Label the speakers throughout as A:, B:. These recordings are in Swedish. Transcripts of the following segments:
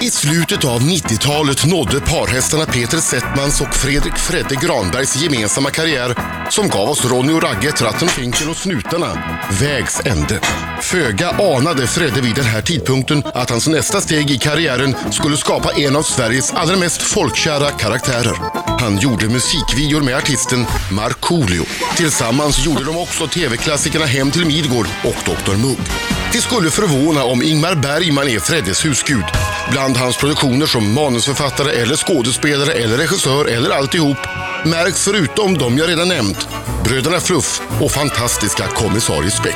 A: I slutet av 90-talet nådde parhästarna Peter Settmans och Fredrik Fredde Granbergs gemensamma karriär som gav oss Ronny och Ragge, Tratten och Finkel och Snutarna vägs ände. Föga anade Fredde vid den här tidpunkten att hans nästa steg i karriären skulle skapa en av Sveriges allra mest folkkära karaktärer. Han gjorde musikvideor med artisten Markoolio. Tillsammans gjorde de också tv-klassikerna Hem till Midgård och Dr Mugg. Det skulle förvåna om Ingmar Bergman är Freddes husgud. Bland hans produktioner som manusförfattare eller skådespelare eller regissör eller alltihop märks förutom de jag redan nämnt Bröderna Fluff och fantastiska Kommissarie Speck.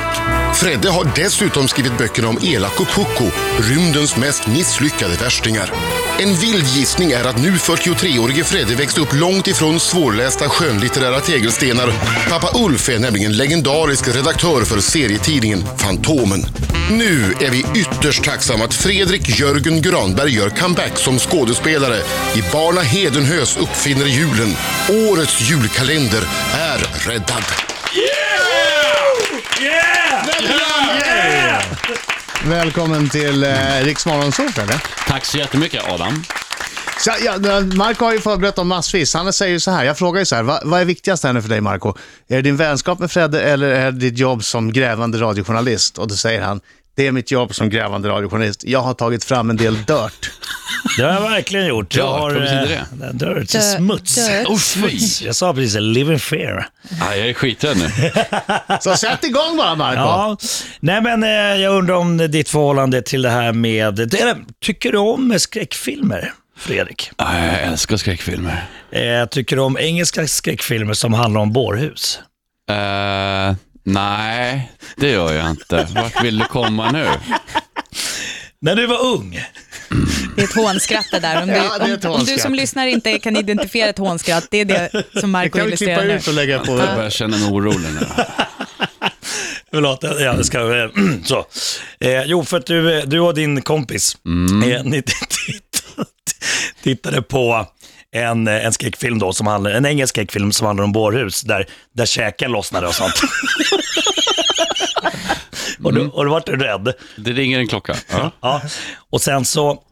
A: Fredde har dessutom skrivit böckerna om Elak och Pucko, rymdens mest misslyckade värstingar. En vild gissning är att nu 43-årige Fredde växte upp långt ifrån svårlästa skönlitterära tegelstenar. Pappa Ulf är nämligen legendarisk redaktör för serietidningen Fantomen. Nu är vi ytterst tacksamma att Fredrik Jörgen Granberg gör comeback som skådespelare i Barna Hedenhös uppfinner julen. Årets julkalender är räddad.
B: Välkommen till eh, Riks Morgonzoo, Fredde.
C: Tack så jättemycket Adam.
B: Så, ja, Marco har ju förberett dem massvis. Han säger ju så här, jag frågar ju så här, "Va- vad är viktigast här nu för dig Marco? Är det din vänskap med Fredde eller är det ditt jobb som grävande radiojournalist? Och då säger han, det är mitt jobb som grävande radiojournalist. Jag har tagit fram en del dirt.
D: Det har jag verkligen gjort. Jag
C: Dirt,
D: har,
C: vad betyder
D: eh, Dirt, smuts.
E: dö-
C: Oh, fy!
D: Jag sa precis live in fear.
C: Ja, jag är skiträdd nu.
B: Så sätt igång bara Marco.
D: Ja. Nej men eh, jag undrar om ditt förhållande till det här med, eller, tycker du om skräckfilmer? Fredrik.
C: Ja, jag älskar skräckfilmer.
D: Eh, tycker du om engelska skräckfilmer som handlar om bårhus?
C: Eh, nej, det gör jag inte. Vart vill du komma nu?
D: När du var ung,
E: Det är ett hånskratt det där. Om du,
B: Ja, det är ett
E: om, om du
B: hånskratt.
E: som lyssnar inte kan identifiera ett hånskratt, det är det som
B: Det
E: Marco
B: kan vi klippa
E: illustrerar nu.
B: ut och lägga på.
C: Jag börjar känna mig orolig nu.
D: Förlåt, jag- jag ska... eh, Så. Eh, jo, för att du, eh, du och din kompis, eh, ni tittade, tittade på en, eh, en skräckfilm då, som handlar, en engelsk skräckfilm som handlar om bårhus, där, där käken lossnade och sånt. och, då, och då vart du rädd.
C: Det ringer en klocka. Ja.
D: Ja. Och sen så,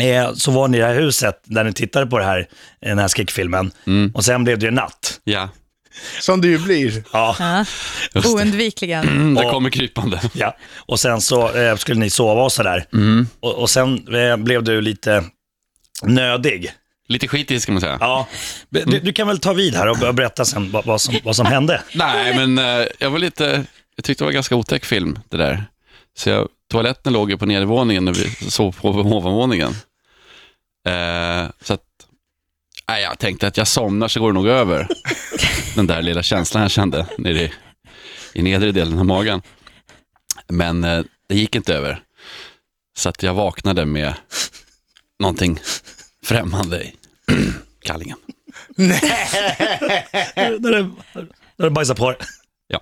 D: eh, så var ni i det här huset, där ni tittade på det här, den här skräckfilmen, och sen blev det ju natt.
C: ja.
B: Som det ju blir.
D: Ja.
E: Ja. Oundvikligen.
C: Mm, Det kommer krypande.
D: Ja, och sen så eh, skulle ni sova och sådär. Och, och sen eh, blev du lite nödig.
C: Lite skitig ska man säga.
D: Ja. Du, du kan väl ta vid här och börja berätta sen vad, vad, som, vad som hände.
C: Nej, men eh, jag var lite... Jag tyckte det var en ganska otäck film, det där. Så jag, toaletten låg ju på nedervåningen och vi sov på ovanvåningen. Eh, så att... Nej, jag tänkte att jag somnar så går det nog över. Den där lilla känslan jag kände nere i, i nedre delen av magen. Men eh, det gick inte över. Så att jag vaknade med någonting främmande i kallingen.
D: När du, när du bajsade på dig.
C: Ja.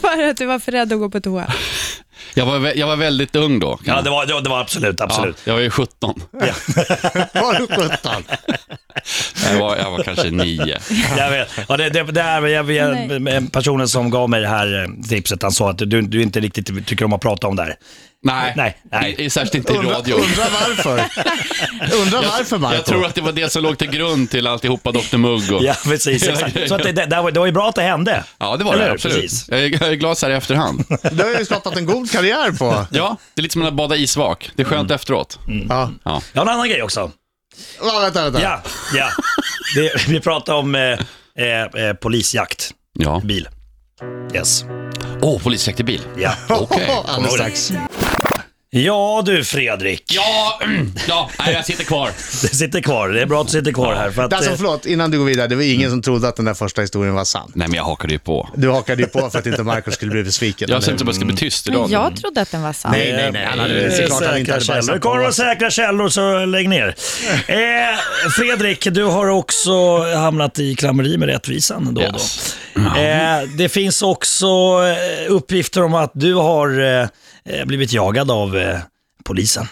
E: För att du var för rädd att gå på toa.
C: Jag, var, vä- jag var väldigt ung då. kan
D: Ja,
C: jag
D: det var, det var, det var absolut, absolut.
C: Ja, jag var ju 17.
B: Var du sjutton?
C: Jag var, jag var kanske 9.
D: Jag vet. Ja, det, det, det här, jag, jag, personen som gav mig det här eh, tipset, han sa att du, du inte riktigt tycker om att prata om det här.
C: Nej,
D: Nej, nej.
C: I, i, särskilt inte i
B: Undra,
C: radio.
B: undra varför. Undra varför Marco.
C: Jag tror att det var det som låg till grund till alltihopa Dr Mugg och...
D: Ja, precis. Exakt. Så att det, det, det, var, det var ju bra att det hände.
C: Ja, det var
D: Eller
C: det.
D: hur?
C: Absolut.
D: Precis.
C: Jag är, jag är glad så här i efterhand.
B: Du har ju skapat en god karriär på.
C: Ja, det är lite som att bada isvak. Det är
D: Mm.
C: skönt efteråt.
B: Ja.
C: Ja.
D: Jag har en annan grej också.
B: Ja, vänta, vänta.
D: Ja, ja. Det, vi pratar om eh, eh, eh, polisjakt,
C: Ja.
D: bil. Yes.
C: Åh, oh, polisjakt i bil.
D: Ja.
C: Okej.
B: Alldeles
D: ihåg det.
B: strax.
D: ja du Fredrik,
C: Ja, mm, ja, nej, jag sitter kvar.
D: det sitter kvar. Det är bra att du sitter kvar här. För att,
B: Alltså
D: eh,
B: förlåt, innan du går vidare. Det var ingen som trodde att den där första historien var sann.
C: Nej, men jag hakade ju på.
B: Du hakade ju på för att inte Marcus skulle bli besviken.
C: Jag ser
B: eller
C: inte som
B: hur?
C: att jag ska bli tyst idag.
E: Men jag trodde att den var sann.
B: Nej, nej, nej. Han hade
D: eh,
B: väl såklart han inte
D: säkra
B: hade
D: källor.
B: bajsat på
D: Kommer det
B: oss.
D: säkra källor så lägg ner. Eh, Fredrik, du har också hamnat i klammeri med rättvisan då och då.
C: Yes.
D: Eh, det finns också eh, uppgifter om att du har eh, eh, blivit jagad av eh, polisen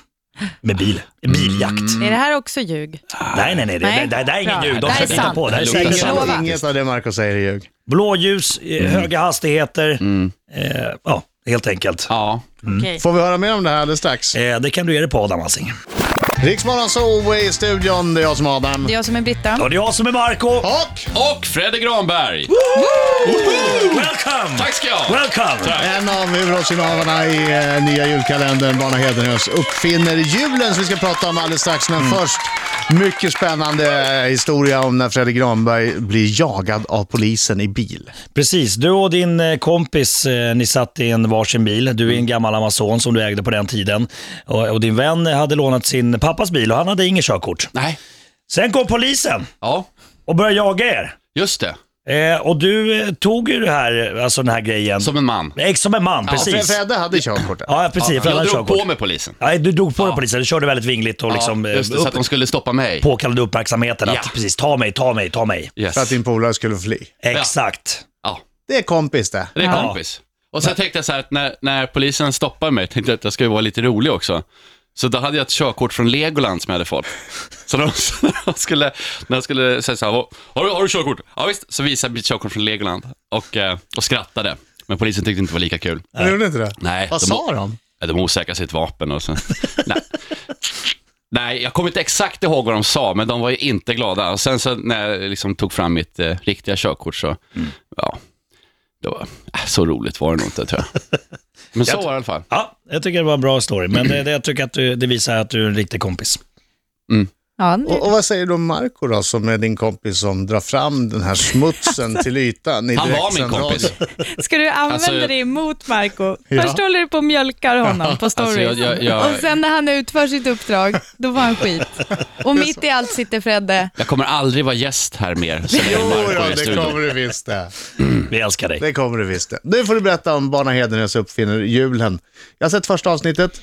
D: med bil.
B: Mm.
D: Biljakt.
E: Mm. Är det här också ljug?
D: Nej, nej, nej. Det,
E: Nej.
D: det, det, det är ingen
E: Bra.
D: ljud.
E: Det
D: De
E: här
D: ska
E: är
D: titta
E: sant.
D: på. Det här är
C: Det luktar
D: säkert
C: sant.
D: sant.
E: Lova.
B: Inget av det Marcus säger är ljug.
C: Mm.
D: Blåljus, eh, höga hastigheter. Eh, ja, helt enkelt.
C: Ja.
E: Okej.
B: Får vi höra mer om det här alldeles strax?
D: Eh, det kan du ge dig på Adam Alsing.
B: Riksmorgon så i studion, det är jag som är Adam.
E: Det är jag som är Britta.
D: Och det är jag som är Marco.
B: Och
C: Och Fredrik Granberg!
D: Welcome!
C: Tack ska jag ha!
D: Welcome!
C: Tack.
B: en av huvudrollsinnehavarna i eh, nya julkalendern, Barna Hedenhös, uppfinner julen som vi ska prata om alldeles strax.
C: Mm.
B: Men först, mycket spännande eh, historia om när Fredrik Granberg blir jagad av polisen i bil.
D: Precis, du och din eh, kompis, eh, ni satt i en varsin bil. Du är en gammal Amazon som du ägde på den tiden. Och, och din vän hade lånat sin pappas bil och han hade inget körkort.
C: Nej.
D: Sen kom polisen
C: Ja,
D: och började jaga er.
C: just det.
D: Eh, och du eh, tog ju det här, alltså den här grejen.
C: Som en man.
D: Eh, Som en man,
B: Fred-
D: precis.
B: Fredde hade körkortet.
D: Ja, precis. för han
C: jag
D: hade
C: drog på
D: körkort.
C: mig polisen.
D: Nej, du dog på den polisen. Du körde väldigt vingligt och
C: Ja,
D: liksom eh,
C: just det, så att
D: upp,
C: de skulle stoppa mig.
D: påkallade uppmärksamheten.
C: Ja.
D: Att precis, ta mig, ta mig, ta mig.
C: Yes.
B: För att din polare skulle fly.
D: Exakt.
C: Ja,
B: Det är kompis det.
C: det är
D: Ja.
C: kompis. Och sen tänkte jag så här att när, när polisen stoppar mig, tänkte jag att jag skulle vara lite rolig också. Så då hade jag ett körkort från Legoland som jag hade fått. Så när de, så när de skulle, när de skulle säga så här, "Vad- har du, har du körkort? Ja visst, så visade jag mitt körkort från Legoland och, eh, och skrattade. Men polisen tyckte det inte det var lika kul.
B: Han gjorde inte det?
C: Nej,
B: Vad
C: de-
B: sa de?
C: Ja, De osäkra sitt vapen och så. Nej. Nej, jag kommer inte exakt ihåg vad de sa, men de var ju inte glada. Och sen så när jag liksom tog fram mitt eh, riktiga körkort så,
B: Mm.
C: ja, det var, äh, så roligt var det nog inte tror jag. Men så var det i alla fall.
D: Ja, jag tycker det var en bra story. Men eh, det, det, jag tycker att du, det visar att du är en riktig kompis.
E: Ja,
B: Och, och vad säger då Marco då, som är din kompis som drar fram den här smutsen till ytan i
C: Han var min
B: direktsänd
C: kompis.
B: radio?
E: Ska du använda
C: Alltså, jag-
E: det emot Marco?
B: Ja.
E: Först håller du på och mjölkar honom på stories.
C: Alltså, jag- jag- jag-
E: Och sen när han utför sitt uppdrag, då var han skit. Och mitt i allt sitter Fredde.
C: Jag kommer aldrig vara gäst här mer. sen jag är
B: Jo,
C: Marco
B: ja,
C: i
B: det
C: studion.
B: kommer du visst det.
C: Mm.
D: Vi älskar dig.
B: Det kommer du visst det. Nu får du berätta om Barna Hedenäs uppfinner julen. Jag har sett första avsnittet.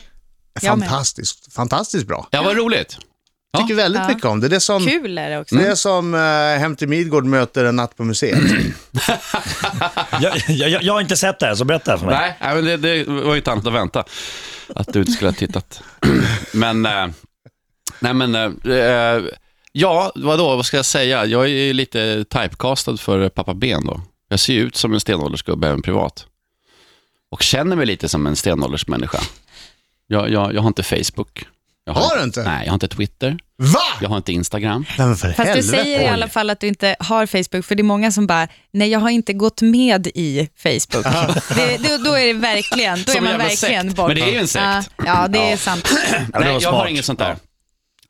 E: Jag med.
B: Fantastiskt, fantastiskt bra.
C: Ja, vad roligt. Ja. Mm.
B: Tycker väldigt
E: Ja.
B: mycket om det. Det är som,
E: Kul är det också.
B: det är som eh, Hem till Midgård möter En natt på museet.
D: Jag, jag, jag, jag har inte sett det här, så berätta för mig.
C: Nej, nej, men det, det var ju inte annat att vänta. Att du inte skulle ha tittat. Men, eh, nej men, eh, eh, ja, vadå, vad ska jag säga? Jag är ju lite typecastad för pappa Ben då. Jag ser ju ut som en stenåldersgubbe även privat. Och känner mig lite som en stenåldersmänniska. Jag, jag, jag har inte Facebook. Jag
B: Har du inte?
C: Nej, jag har inte Twitter.
B: Va?
C: Jag har inte Instagram.
B: Nej, men för
E: Fast
B: helvete.
E: du säger i alla fall att du inte har Facebook, för det är många som bara, nej jag har inte gått med i Facebook. det, det, då är det verkligen, då
C: Ah. Som
E: är man
C: en jävla
E: verkligen
C: sekt.
E: borta.
C: Men det är ju en sekt.
E: Ja, ja det är
C: Ja.
E: sant.
D: Ja, det
C: Nej,
D: var
C: jag
D: smart.
C: har inget sånt där.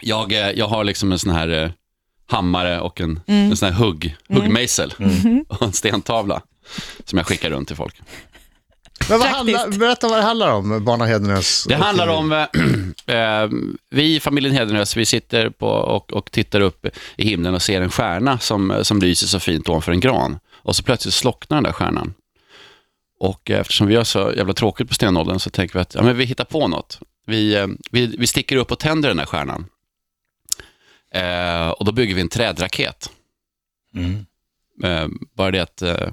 C: Jag, eh, jag har liksom en sån här eh, hammare och en, en sån här hugg, huggmejsel och en stentavla som jag skickar runt till folk.
B: Men vad
E: Praktiskt.
B: handlar, berätta vad det handlar om, Barna Hedenäs.
C: Det handlar om, eh, eh, vi i familjen Hedenös, vi sitter på och, och tittar upp i himlen och ser en stjärna som, eh, som lyser så fint ovanför en gran. Och så plötsligt slocknar den där stjärnan. Och eh, eftersom vi har så jävla tråkigt på stenåldern så tänker vi att ja, men vi hittar på något. Vi, eh, vi, vi sticker upp och tänder den här stjärnan. Eh, och då bygger vi en trädraket.
D: Mm.
C: Eh, bara det att eh,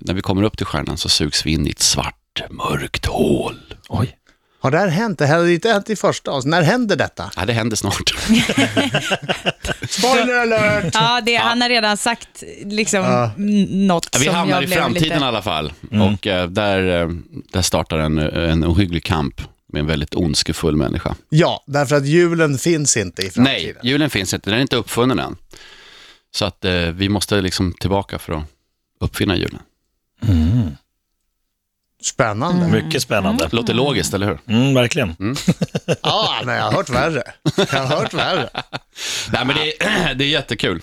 C: när vi kommer upp till stjärnan så sugs vi in i ett svart, mörkt hål.
D: Oj.
B: Har det här hänt? Det här hade inte hänt i första avsnittet. När händer detta?
C: Ja, det händer snart.
B: Spoiler alert!
E: Ja, det, han har redan sagt liksom n- något
C: Ja, Vi
E: som
C: hamnar
E: jag
C: i
E: blev
C: framtiden i
E: lite...
C: alla fall. Och eh, där, eh, där startar en, en ohygglig kamp med en väldigt ondskefull människa.
B: Ja, därför att julen finns inte i
C: Nej,
B: framtiden.
C: julen finns inte. Den är inte uppfunnen än. Så att eh, vi måste liksom tillbaka för att uppfinna julen.
B: Spännande.
C: Mm.
D: Mycket spännande.
C: Låter logiskt, eller hur?
D: Mm, verkligen.
B: Ja, nej, jag har hört värre. Jag har hört värre.
C: Nej, men det, är, det är jättekul.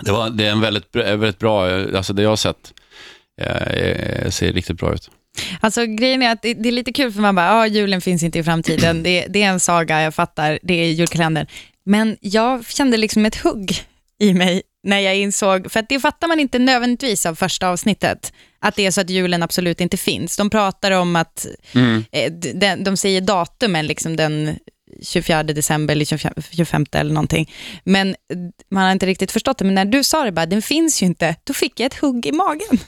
C: Det, var, det är en väldigt, br- väldigt bra, eh, alltså det jag har sett eh, ser riktigt bra ut.
E: Alltså grejen är att det, det är lite kul för man bara, ja julen finns inte i framtiden, det, det är en saga, jag fattar, det är julkalendern. Men jag kände liksom ett hugg i mig när jag insåg, för att det fattar man inte nödvändigtvis av första avsnittet, att det är så att julen absolut inte finns. De pratar om att, eh, d- den, de säger datumen, liksom den 24 december eller 25, 25 eller någonting. Men eh, man har inte riktigt förstått det, men när du sa det bara, den finns ju inte, då fick jag ett hugg i magen.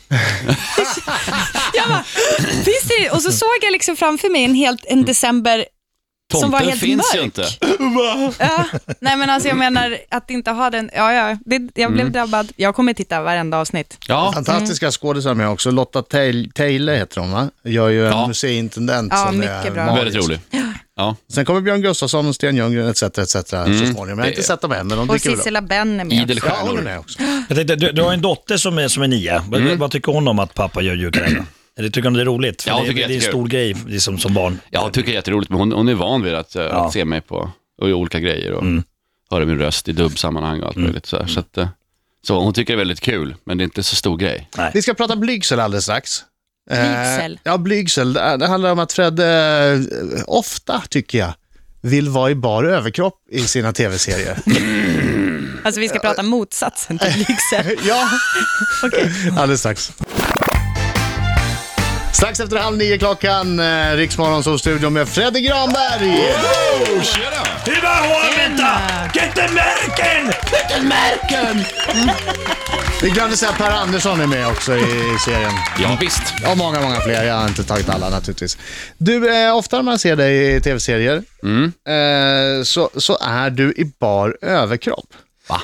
E: Jag bara, finns det? Och så såg jag liksom framför mig en helt en december som var helt
C: finns
E: mörk.
C: ju inte.
E: Ja, nej men alltså jag menar att inte ha den, ja ja, det, jag blev
C: Mm.
E: drabbad. Jag kommer titta varenda avsnitt.
C: Ja,
B: Fantastiska skådisar med också. Lotta Teil- Teile heter hon va? Gör ju en
C: Ja.
B: museiintendent
E: Ja,
B: som är
E: mycket bra.
B: magisk.
C: väldigt rolig. Ja,
B: Sen kommer Björn Gustafsson, Sten Ljunggren etc. etc. så
C: Mm.
B: småningom. Jag har inte sett dem än, men de
E: Och
B: dyker väl upp.
E: Sissela Benn är med.
C: idel
E: också.
B: Ja, hon är
C: stjärnor.
B: med också.
D: Jag tänkte, du, du har en dotter som är, som är nio. Vad- Vad tycker hon om att pappa gör julkalender? Eller tycker hon det är roligt? För
C: Mm. Ja, hon
D: det,
C: tycker
D: det, det är en
C: jättekul.
D: stor grej liksom, som barn.
C: Ja, jag tycker det är jätteroligt, men hon, hon är van vid att, eh,
D: Ja. Mm.
C: att se mig på och göra olika grejer och höra min röst i dubbsammanhang och allt möjligt. Så, här. så, att, eh, så hon tycker det är väldigt kul, men det är inte så stor grej.
B: Vi ska prata blygsel alldeles strax.
E: Blygsel?
B: Eh, ja, blygsel. Det det handlar om att Fredde, eh, ofta tycker jag, vill vara i bar överkropp i sina tv-serier.
E: Alltså vi ska prata motsatsen till lyxen.
B: ja,
E: Okej.
B: alldeles strax. Strax efter halv nio klockan, eh, Riksmorgon som studio med Fredde Granberg.
D: Hyvä huomenta! Kette märken!
B: Vi glömde säga att Per Andersson är med också i serien.
C: Ja, visst.
B: Och många, många fler. Jag har inte tagit alla naturligtvis. Du, eh, ofta när man ser dig i tv-serier
C: Mm.
B: eh, så, så är du i bar överkropp.
C: Va?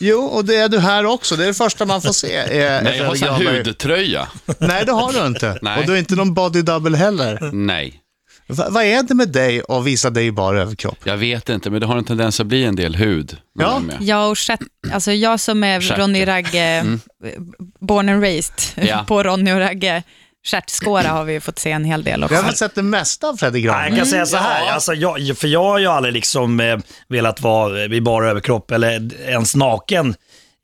B: Jo, och det är du här också. Det är det första man får se. Är,
C: Nej, jag har sån här hudtröja.
B: Nej, det har du inte.
C: Nej.
B: Och du är inte någon body double heller.
C: Nej,
B: Va, vad är det med dig att visa dig i bar överkropp?
C: jag vet inte, men det har en tendens att bli en del hud. när
B: Ja.
C: jag är med.
E: Jag och Chet, alltså jag som är
C: Stjärt.
E: Ronny och Ragge, born and raised
C: Mm. Ja.
E: på Ronny och Ragge. Stjärtskåra har vi ju fått se en hel del
B: Jag har
E: också.
B: väl sett det mesta av Fredrik
D: Nej, jag
B: Granberg.
D: kan säga så här, alltså, jag, för jag har ju aldrig liksom, eh, velat vara eh, i bara överkropp eller d- ens naken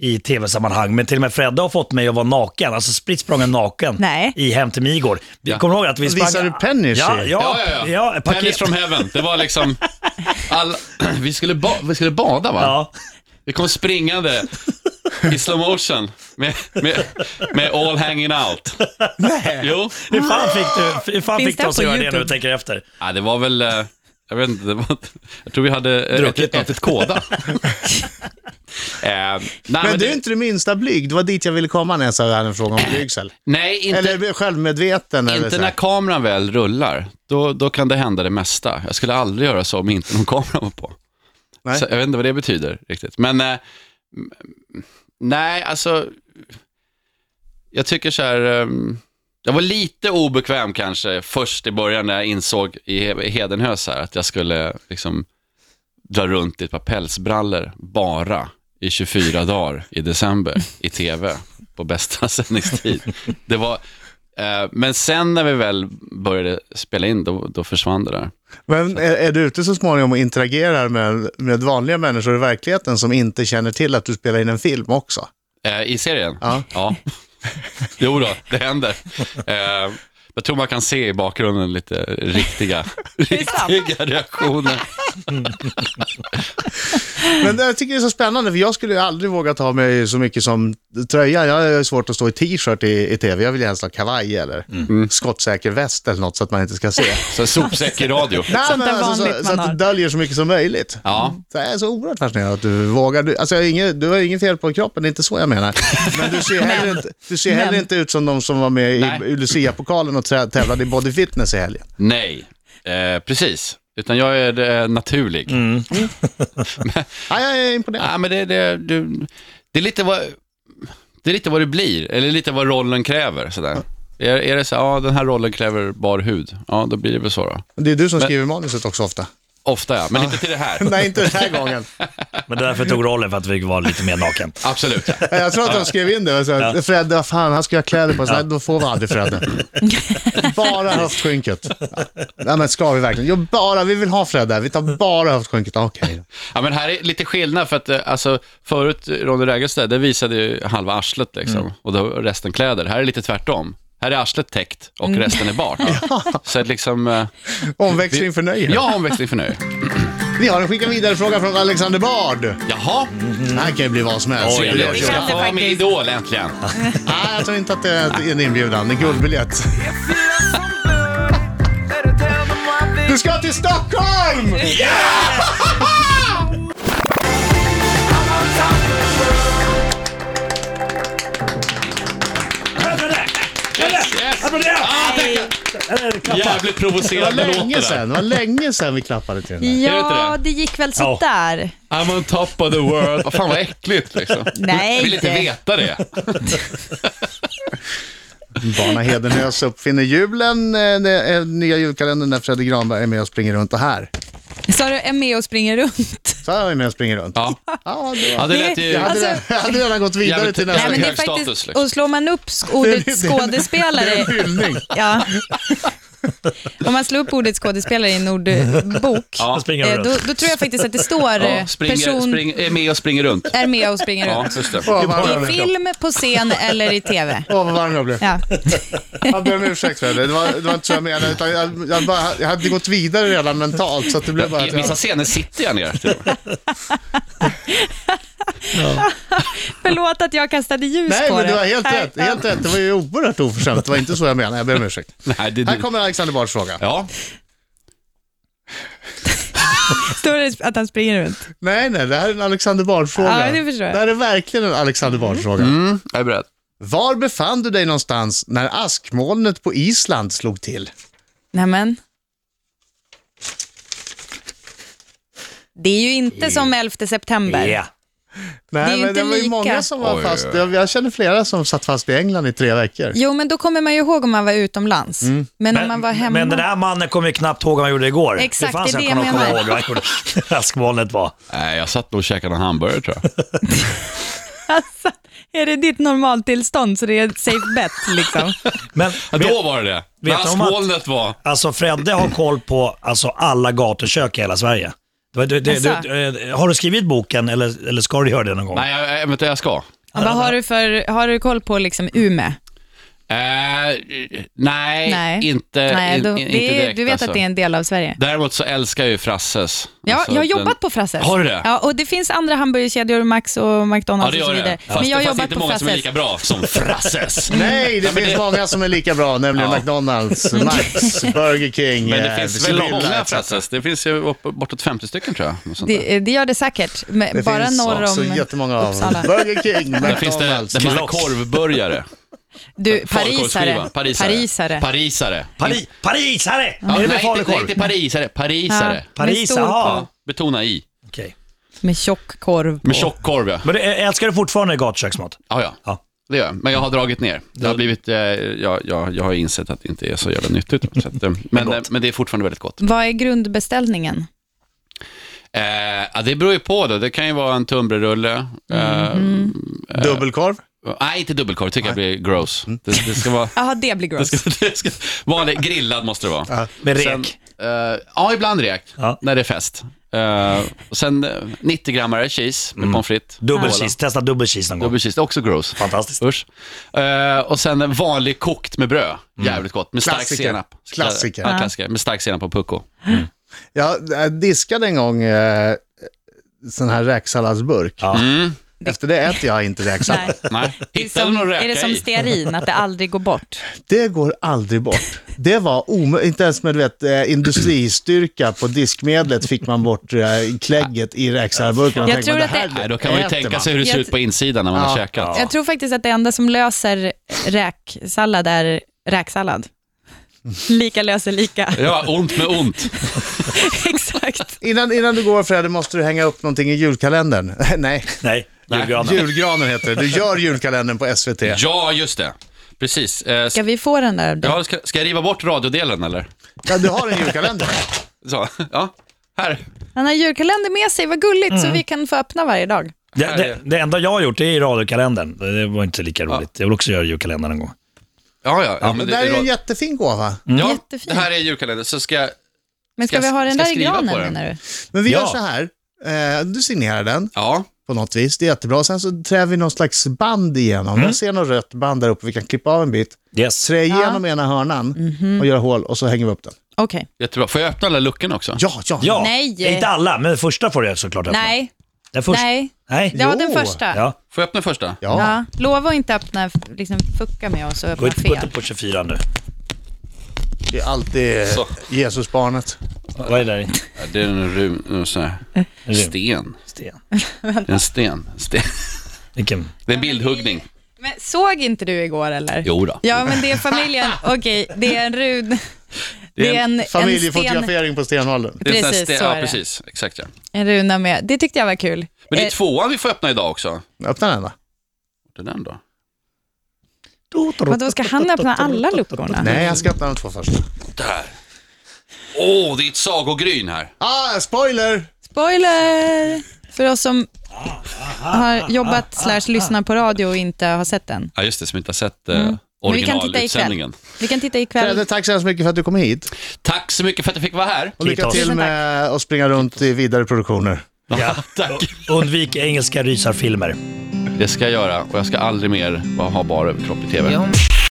D: i tv-sammanhang. Men till och med Fredde har fått mig att vara naken, alltså spritt sprången naken
E: Nej.
D: i Hem till Migård. Vi
C: Ja.
D: Kommer du ihåg att vi sprang...
B: Visar du Penny
D: Ja, ja,
B: sig?
D: ja, ja
C: Tennis
D: paket.
C: from heaven. Det var liksom... All, vi, skulle ba, vi skulle bada, va?
D: Ja.
C: Vi kom springande i slow motion med, med, med all hanging out. Nej. Jo.
D: Hur fan fick du, hur fan
E: Finns
D: fick
E: det
D: du oss att
E: på
D: göra det
E: YouTube?
D: nu, tänker jag efter?
C: Ja, det var väl... eh, Jag vet inte, det var, jag tror vi hade eh,
D: Druckit
C: ätit,
D: något.
C: ätit kåda. eh, nej, men
B: Men du
C: det,
B: är inte det minsta blyg. Det var dit jag ville komma när jag sa det här en fråga om blygsel.
C: nej, inte,
B: Eller självmedveten. eller
C: inte
B: så här.
C: när kameran väl rullar. Då, då kan det hända det mesta. Jag skulle aldrig göra så om inte någon kamera var på.
B: Nej.
C: Så jag vet inte vad det betyder riktigt. Men eh, m- nej, alltså, jag tycker så här, eh, jag var lite obekväm kanske först i början när jag insåg i He- i Hedenhös här att jag skulle liksom dra runt i ett par pälsbrallor bara i 24 dagar i december i tv på bästa sändningstid. Det var, eh, men sen när vi väl började spela in, då, då försvann det där.
B: Men är, är du ute så småningom och interagerar med, med vanliga människor i verkligheten som inte känner till att du spelar in en film också?
C: Eh, I serien?
B: Ja.
C: jo då, det händer. Eh, jag tror man kan se i bakgrunden lite riktiga,
E: är sant.
C: riktiga reaktioner.
B: Men det, jag tycker det är så spännande, för jag skulle ju aldrig våga ta mig så mycket som tröja. Jag har ju svårt att stå i t-shirt i, i tv. Jag vill ju helst ha kavaj eller skottsäker väst eller något så att man inte ska se.
C: Så en sopsäck i radio.
B: Nej, men
E: där
B: alltså, så,
E: vanligt man
B: så att
E: har.
B: du döljer så mycket som möjligt.
C: Ja.
B: Det är så oerhört fascinerande att du vågar. Du, alltså, jag har inget, du har inget fel på kroppen, det är inte så jag menar. Men du ser heller inte, du ser heller
E: Men.
B: inte ut som de som var med
C: Nej.
B: i Lucia-pokalen och trä- tävlade i body fitness i helgen.
C: Nej, eh, precis. Utan jag är eh, naturlig.
B: Ja, jag är imponerad.
C: Ja, men det, det, du, det, är lite vad, det är lite vad det blir, eller lite vad rollen kräver. Sådär. Är, är det så här, ja den här rollen kräver bar hud, ja då blir det väl så då.
B: Det är du som skriver manuset också ofta.
C: Ofta ja, men inte till det här.
B: Nej, inte den här gången.
D: Men därför tog rollen för att vi var lite mer naken.
C: Absolut.
B: Jag tror att de skrev in det. och Så, här, Fredde, vad fan, han ska ha kläder på sig. Nej, Då får vi aldrig Fredde. Bara höftskynket. Nej, men ska vi verkligen? Jo, bara, vi vill ha Fredde. Vi tar bara höftskynket. Okej. då.
C: Ja, men här är lite skillnad för att eh, alltså, förut, eh, Ronny Rägels där, det visade ju halva arslet liksom,
B: Mm.
C: och då resten kläder. Här är det lite tvärtom. Här är arslet täckt och
B: Mm.
C: resten är bart. Så att liksom, eh,
B: Omväxling för nöje.
C: ja, omväxling för nöje.
B: Vi har en skicka vidare fråga från Alexander Bard.
C: Jaha,
B: Det här kan ju bli vad som helst.
D: Oj,
C: trevligt.
D: oj,
C: Vi
D: oj.
C: ska få vara med i Idol äntligen.
B: Nej, jag tror inte att det är en inbjudan. Det är guldbiljett. Du ska till Stockholm!
D: Hörde du det? Hörde du det?
C: Yes.
D: Hörde du det?
C: Ah, tackar.
D: Eller är det klappar?
C: Jävligt
B: Det var
C: provocerande låt
B: länge
C: det där.
B: sedan, det var länge sedan vi klappade till den där.
C: Är det inte
E: Ja,
C: det?
E: det gick väl sådär.
C: I'm on top of the world. Vad fan vad äckligt liksom.
E: Nej.
C: Jag vill inte veta det.
B: Barna Hedenhös uppfinner julen, eh, det är nya julkalendern där Fredrik Granberg är med och springer runt. Och här,
E: Så du är med och springer runt.
B: så här är han med och springer runt.
C: Ja,
B: Ja, det
C: ja
B: var...
C: det lät ju...
B: Jag hade,
E: Alltså-
B: jag hade redan gått vidare
C: Jävligt-
B: till
E: Nej,
B: nästa.
E: men det är
C: hög status,
E: faktiskt,
C: liksom.
E: och slår man upp sk-
B: Det är-
E: ordet
B: det är- Det är en
E: skådespelare,
B: hyllning.
E: ja. om man slår upp ordet skådespelare i en ordbok,
C: Ja,
D: springer
E: eh,
D: runt.
E: då, då tror jag faktiskt att det står eh,
C: ja, springer,
E: person
C: spring, är med och springer runt.
E: är med och springer
C: Ja,
E: runt.
C: just det.
B: Åh, vad
E: I film, på scen eller i tv.
B: Åh, vad varm jag blev.
E: Ja.
B: Jag ber om ursäkt för det. Det var, det var inte så jag menade. Utan jag, jag, bara, jag hade gått vidare redan mentalt, så att det blev bara...
C: I vissa scener sitter jag ner. till och med.
E: Förlåt att jag kastade ljus
B: Nej,
E: på
B: men
E: det.
B: du har helt
E: Nej,
B: rätt. Helt rätt. Det var ju oerhört oförskämt. Det var inte så jag menade. Jag ber om ursäkt.
C: Nej, det är
B: Här
C: du.
B: kommer Alexander Bards fråga.
C: Ja,
E: Står det att han springer runt?
B: Nej, nej, det här är en Alexander Bard-fråga.
E: Ja, det förstår jag.
B: här är verkligen en Alexander Bard-fråga.
C: mm, jag är beredd.
B: Var befann du dig någonstans när askmolnet på Island slog till?
E: Nämen. Det är ju
B: Mm.
E: inte som 11 september.
D: Ja.
B: Nej,
E: Det är ju
B: men
E: inte
B: det var ju
E: lika.
B: många som var
C: Oj,
B: fast.
C: oj, oj.
B: Jag, jag känner flera som satt fast i England i tre veckor.
E: Jo, men då kommer man ju ihåg om man var utomlands.
B: Mm.
E: Men, om man var hemma.
D: men den här mannen kommer ju knappt ihåg vad han gjorde igår.
E: Exakt,
D: det fanns
E: det är
D: en
E: det jag
D: kommer
E: menar.
D: ihåg vad han gjorde. Askmolnet var.
C: Nej, jag satt nog och käkade en hamburgare tror jag.
E: Alltså, är det ditt normaltillstånd så det är ett safe bet liksom?
D: Men
C: Ja,
D: vet-
C: då var det det. När
D: vet de att-
C: askmolnet var...
D: Alltså Fredde har koll på alltså, alla gatukök i hela Sverige. Du, du, du,
E: Asså?
D: du, eh, har du skrivit boken eller, eller ska du göra det någon gång?
C: Nej, jag, jag, vänta, jag ska.
E: Ja, vad har du, för, har du koll på liksom Ume?
C: Eh, nej,
E: Nej.
C: inte,
E: Nej,
C: in,
E: då,
C: in, inte
E: det är,
C: direkt
E: du vet
C: alltså.
E: att det är en del av Sverige.
C: Däremot så älskar jag ju Frasses.
E: Ja,
C: Alltså,
E: jag har
C: den-
E: jobbat på Frasses.
C: Har du det?
E: Ja, och det finns andra hamburgerkedjor, Max och
C: Ja,
E: McDonalds
C: det
E: och så
C: gör
E: vidare.
C: det. Fast,
E: men jag har
C: fast
E: jobbat
C: inte
E: på
C: många som är
E: Frasses.
C: lika bra som Frasses.
B: Nej, det finns många som är lika bra, nämligen
C: Ja.
B: McDonalds, Max, Burger King,
C: Men det
B: eh,
C: finns väl
B: Sibylla,
C: många
B: etc.
C: Frasses? Det finns ju upp- bortåt 50 stycken tror jag. något sånt där.
E: Det, det gör det säkert, men
B: Det
E: bara
B: finns
E: norr
B: också
E: om
B: jättemånga av
E: Uppsala.
B: Burger King,
C: Där finns det,
B: McDonalds.
C: där man har
D: Kilox.
C: korvburgare.
E: Du,
C: Falukorvsskiva.
E: parisare.
C: Parisare.
E: Parisare.
C: Parisare.
D: Pari, Parisare!
C: Ja,
D: Är det
C: nej,
D: med
C: inte, nej,
D: falukorv?
C: inte parisare. Parisare.
E: Ja, med
D: Paris,
E: stor
D: aha.
E: korv.
C: Betona i.
D: Okej.
E: Med tjock korv på.
C: Med tjockkorv ja.
D: Men du, ä- älskar du fortfarande gatuköksmat?
C: Ja, ja.
D: Ja.
C: Det gör jag. Men jag har dragit ner. Det har blivit, eh, jag, jag, jag har insett att det inte är så jävla nyttigt. Så att, eh, men, eh, men det är fortfarande väldigt gott.
E: Vad är grundbeställningen?
C: Eh, ja, det beror ju på. Då. Det kan ju vara en tunnbrödsrulle. Eh,
E: Mhm.
B: Dubbelkorv.
C: Nej, inte dubbelkorv. tycker jag blir gross. Det, det ska vara...
E: Jaha, det blir gross.
C: Det ska, vanlig grillad måste det vara.
D: Med rek?
C: Sen, eh, ja, ibland rek.
D: Ja.
C: När det är fest. Eh, och sen eh, 90 grammare cheese med pommes frites.
D: Dubbel
C: Cola.
D: cheese, testa dubbel cheese någon gång.
C: Dubbel cheese, det är också gross.
D: Fantastiskt.
C: Usch. Eh, och sen en vanlig kokt med bröd. Jävligt gott. Med stark
B: Klassiker.
C: senap.
B: Klassiker.
C: Ja, klassiker. Med stark senap och pucko.
B: Jag eh, diskade en gång eh, sån här räksalladsburk. Mm.
D: Ja.
B: Efter det äter jag inte räksallad.
E: Nej.
C: Nej.
E: Det är,
C: Hittar du
E: som,
C: någon
E: är det
C: räka
E: som
C: i?
E: stearin, att det aldrig går bort?
B: Det går aldrig bort. Det var omöjligt. Inte ens med du vet, eh, industristyrka på diskmedlet fick man bort eh, klägget i räksalladsburken.
E: Jag
B: tänkte,
E: tror
B: "Men
E: att det-
B: här
C: Nej, då kan man ju
B: äter
C: tänka sig hur det ser
E: Jag-
C: ut på insidan när man har
B: Ja.
C: käkat.
E: Jag tror faktiskt att det enda som löser räksallad är räksallad.
C: Mm.
E: Lika löser lika.
C: Ja, ont med ont.
E: Exakt.
B: Innan, innan du går Fredde, måste du hänga upp någonting i julkalendern. Nej,
D: Nej, julgranen.
B: julgranen heter det. Du gör julkalendern på SVT.
C: Ja, just det. Precis. Eh,
E: Ska vi få den där?
C: Ja, ska, ska jag riva bort radiodelen eller?
B: Ja, du har en julkalender.
C: Så, ja. Här.
E: Han har julkalender med sig, vad gulligt,
C: Mm.
E: så vi kan få öppna varje dag.
D: Det, det, det enda jag har gjort det är i radiokalendern. Det det var inte lika roligt. Jag vill också göra julkalendern en gång.
C: Ja, ja. ja,
B: Det
C: men
B: där är Mm. ju en
C: ja,
B: jättefin gåva.
E: Jättefin.
C: Det här är julkalendern, så ska jag...
E: Men ska,
C: Ska
E: vi
C: jag-
E: ha den
C: ska jag
E: där i
C: skriva på
E: granen
C: den?
E: menar du?
B: Men vi
D: Ja.
B: gör så här. Eh, du signerar den
C: Ja,
B: på något vis. Det är jättebra. Sen så trär vi någon slags band igenom. Jag ser något rött band där uppe. Vi kan klippa av en bit.
D: Yes.
B: Trä igenom ena hörnan
E: Mhm.
B: och göra hål och så hänger vi upp den.
E: Okej.
C: jättebra. Får jag öppna alla luckorna också?
B: Ja, ja.
D: Ja,
E: Nej.
D: inte alla, men första får jag såklart öppna.
E: Nej,
D: Den första.
E: nej.
D: Nej.
E: Det var den
B: Jo.
E: första.
D: Ja.
C: Får jag öppna första?
B: Ja.
E: Ja. Lova att inte öppna, liksom fucka med oss och
D: Gå
E: öppna
D: ut gå ut
E: fel.
D: på 24 nu.
B: Det är alltid
C: Så.
B: Jesusbarnet.
D: Vad är det där i?
C: Ja, Det är en rum, en sån här sten.
D: Sten.
C: Det är en sten. sten.
D: Vilken?
C: Det är en bildhuggning.
E: Men såg inte du igår eller?
C: Jo då.
E: Ja, men det är familjen. Okej, det är en rud. Det är en, en sten.
B: Familjefotografering på Stenholm.
C: Det är en sån här
E: Precis,
C: sten-
E: så är
C: ja,
E: det.
C: precis. Exakt ja.
E: En runa med. Det tyckte jag var kul.
C: Men det är
E: Eh,
C: tvåan vi får öppna idag också. Vart
B: Öppna den då.
C: är den då?
E: Eh, Vadå, ska han öppna alla luckorna?
B: Nej, jag ska öppna de två först.
C: Där. Åh, det är ett sagogryn här.
B: Ah, spoiler!
E: Spoiler! För oss som
C: Ah,
E: har jobbat slash lyssnar på radio och inte har sett den.
C: Ja, just det, som inte har sett eh,
E: Mm. Men vi kan titta
C: originalutsändningen.
E: ikväll. Vi kan titta ikväll.
B: Fredde, tack så hemskt mycket för att du kom hit.
C: Tack så mycket för att jag fick vara här.
B: Och lycka
D: Kitos.
B: till
E: Tusen
B: med att springa runt i vidare produktioner.
D: Ja.
C: Tack.
D: Undvik engelska rysarfilmer.
C: Det ska jag göra och jag ska aldrig mer bara ha bara överkropp i tv.